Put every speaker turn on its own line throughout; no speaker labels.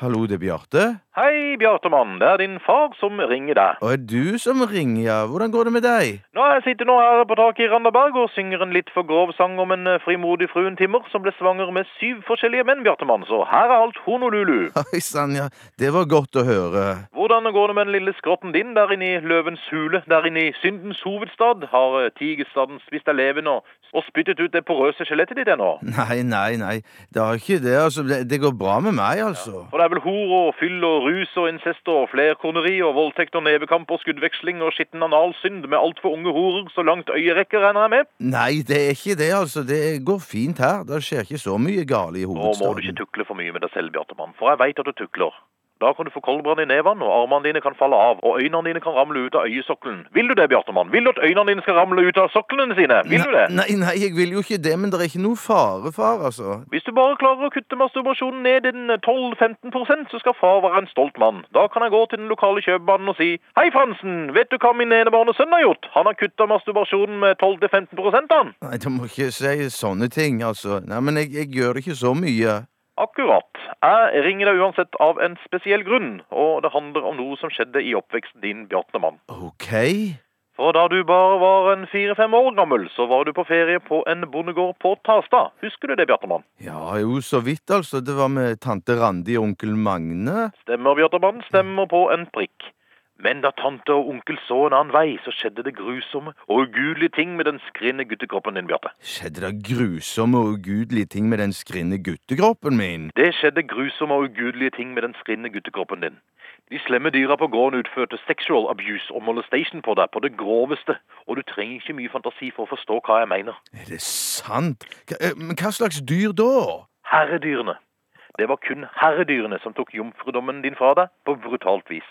Hallo, det er Bjarte.
Hei, Bjartemann. Det er din far som ringer deg.
Og er du som ringer, ja. Hvordan går det med deg?
Nå jeg sitter nå her på taket i Randaberg og synger en litt for grov sang om en eh, frimodig fruen Timmer som ble svanger med syv forskjellige menn, Bjartemann. Så her er alt honolulu.
Oi sann, ja. Det var godt å høre.
Hvordan går det med den lille skrotten din der inne i løvens hule, der inne i syndens hovedstad? Har eh, tigerstaden spist deg levende og, og spyttet ut det porøse skjelettet ditt ennå?
Nei, nei, nei. Det har ikke det, altså. Det, det går bra med meg, altså.
For det er vel hor og fyll og rus og incest og flerkoneri og voldtekt og nevekamp og skuddveksling og skitten analsynd med altfor unge horer så langt øyet rekker, regner jeg med?
Nei, det er ikke det, altså. Det går fint her. Det skjer ikke så mye gale i
Nå må
hovedstaden.
du ikke tukle for mye med deg selv, Bjartemann, for jeg veit at du tukler. Da kan du få koldbrann i nevene, og armene dine kan falle av, og øynene dine kan ramle ut av øyesokkelen. Vil du det, Bjartemann? Vil du at øynene dine skal ramle ut av soklene sine? Vil du det?
Nei, nei, jeg vil jo ikke det, men det er ikke noe fare, far, altså.
Hvis du bare klarer å kutte masturbasjonen ned i den eh, 12-15 prosent, så skal far være en stolt mann. Da kan jeg gå til den lokale kjøpebanen og si Hei, Fransen, vet du hva min enebarne sønn har gjort? Han har kutta masturbasjonen med 12-15 prosent, han.
Nei, du må ikke si sånne ting, altså. Nei, men jeg, jeg gjør ikke så mye.
Akkurat. Jeg ringer deg uansett av en spesiell grunn, og det handler om noe som skjedde i oppveksten din, Bjartemann.
Ok.
For da du bare var en fire-fem år gammel, så var du på ferie på en bondegård på Tasta. Husker du det, Bjartemann?
Ja, jo, så vidt, altså. Det var med tante Randi og onkel Magne.
Stemmer, Bjartemann, stemmer på en prikk. Men da tante og onkel så en annen vei, så skjedde det grusomme og ugudelige ting med den skrinne guttekroppen din, Bjarte.
Skjedde det grusomme og ugudelige ting med den skrinne guttekroppen min?
Det skjedde grusomme og ugudelige ting med den skrinne guttekroppen din. De slemme dyra på gården utførte sexual abuse og molestation på deg på det groveste, og du trenger ikke mye fantasi for å forstå hva jeg mener.
Er det sant? Hva, eh, men hva slags dyr da?
Herredyrene. Det var kun herredyrene som tok jomfrudommen din fra deg på brutalt vis.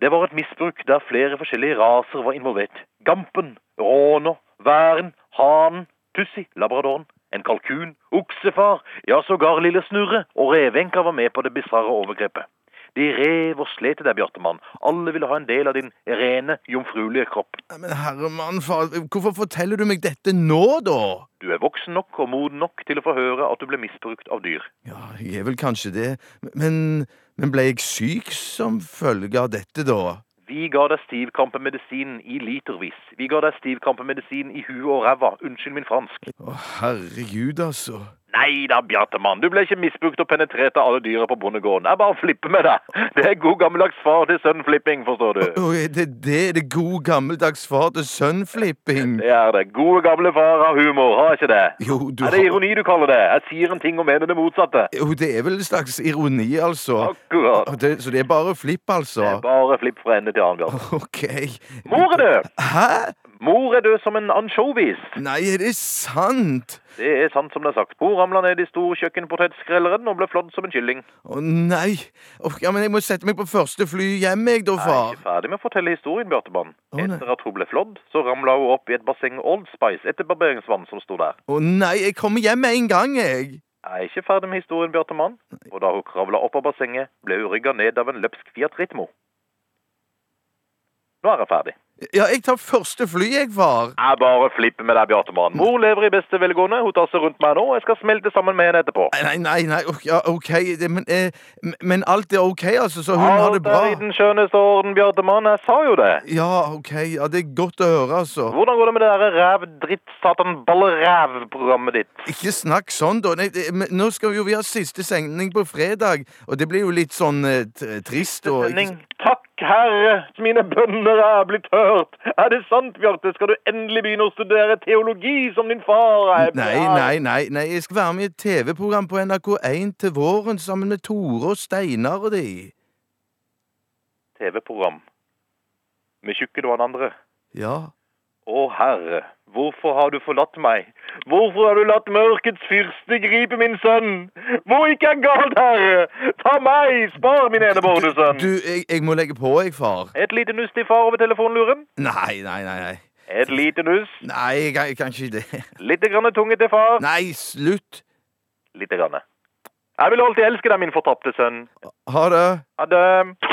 Det var et misbruk der flere forskjellige raser var involvert. Gampen, råner, væren, hanen, tussi, labradoren, en kalkun, oksefar, ja sågar lille Snurre og revenka var med på det bisarre overgrepet. De rev og slet i deg, Bjartemann. Alle ville ha en del av din rene, jomfruelige kropp.
Nei, Men herre mann, far, hvorfor forteller du meg dette nå, da?
Du er voksen nok og moden nok til å få høre at du ble misbrukt av dyr.
Ja, jeg er vel kanskje det, men, men ble jeg syk som følge av dette, da?
Vi ga deg stivkrampemedisin i litervis. Vi ga deg stivkrampemedisin i huet og ræva. Unnskyld min fransk.
Å, herregud, altså.
Nei da, Bjartemann. Du ble ikke misbrukt og penetrert av alle dyra på bondegården. Jeg bare flipper med deg. Det er god gammeldags far til sønn-flipping, forstår du.
Å, er det det er det god gammeldags far til sønnflipping?
Det er det. Gode gamle far har humor, har ikke det?
Jo, du
Er det ironi du kaller det? Jeg sier en ting og mener det motsatte.
Jo, det er vel en slags ironi, altså.
Akkurat.
Og Det, så det er bare flipp,
Det
altså?
er bare flipp fra ende til annen, Bjarte.
Ok.
Mor er død!
Hæ?
Mor er død som en ansjovis.
Nei, er det sant?
Det er sant som det er sagt. Hun ramla ned i storkjøkkenpotetskrelleren og ble flådd som en kylling.
Å nei. Å, ja, men jeg må sette meg på første fly hjem, jeg da,
Jeg er
far.
ikke ferdig med å fortelle historien, Bjartemann.
Å, nei.
Etter at hun ble flådd, så ramla hun opp i et basseng Old Spice etter barberingsvann som sto der.
Å nei, jeg kommer hjem med en gang, jeg.
Jeg er ikke ferdig med historien, Bjartemann. Og da hun kravla opp av bassenget, ble hun rygga ned av en løpsk Fiat Ritmo. Nå er jeg ferdig.
Ja, jeg tar første fly, jeg, far.
Jeg bare flipper med deg, Bjartemann. Mor lever i beste velgående. Hun tar seg rundt meg nå, og jeg skal smelte sammen med henne etterpå.
Nei, Nei, nei, nei, ok, ja, ok, det, men, eh, m- men alt er ok, altså, så hun har det
Alt er i
bra?
den skjønneste orden, Bjartemann. Jeg sa jo det.
Ja, ok, ja, det er godt å høre, altså.
Hvordan går det med det derre ræv-dritt-satan-balleræv-programmet ditt?
Ikke snakk sånn, da. Nei, det, men, nå skal jo vi ha siste sending på fredag, og det blir jo litt sånn eh, t- trist og ikke-
Sending. Takk, Herre, mine bønner er blitt hørt. Er det sant, Bjarte? Skal du endelig begynne å studere teologi som din far? er?
Nei, nei, nei, nei, jeg skal være med i et TV-program på NRK1 til våren sammen med Tore og Steinar og de.
TV-program. Med tjukke du og han andre.
Ja.
Å, Herre, hvorfor har du forlatt meg? Hvorfor har du latt mørkets fyrste gripe min sønn? Hvor gikk jeg galt, Herre? Ta meg! Spar min enebårne sønn!
Du, jeg, jeg må legge på, jeg, far.
Et lite nuss til far over telefonluren.
Nei, nei, nei. Nei,
Et lite nuss.
nei jeg, kan, jeg kan ikke det.
Litt grann tunge til far.
Nei, slutt.
Litt grann. Jeg vil alltid elske deg, min fortapte sønn.
Ha det.
Ha det.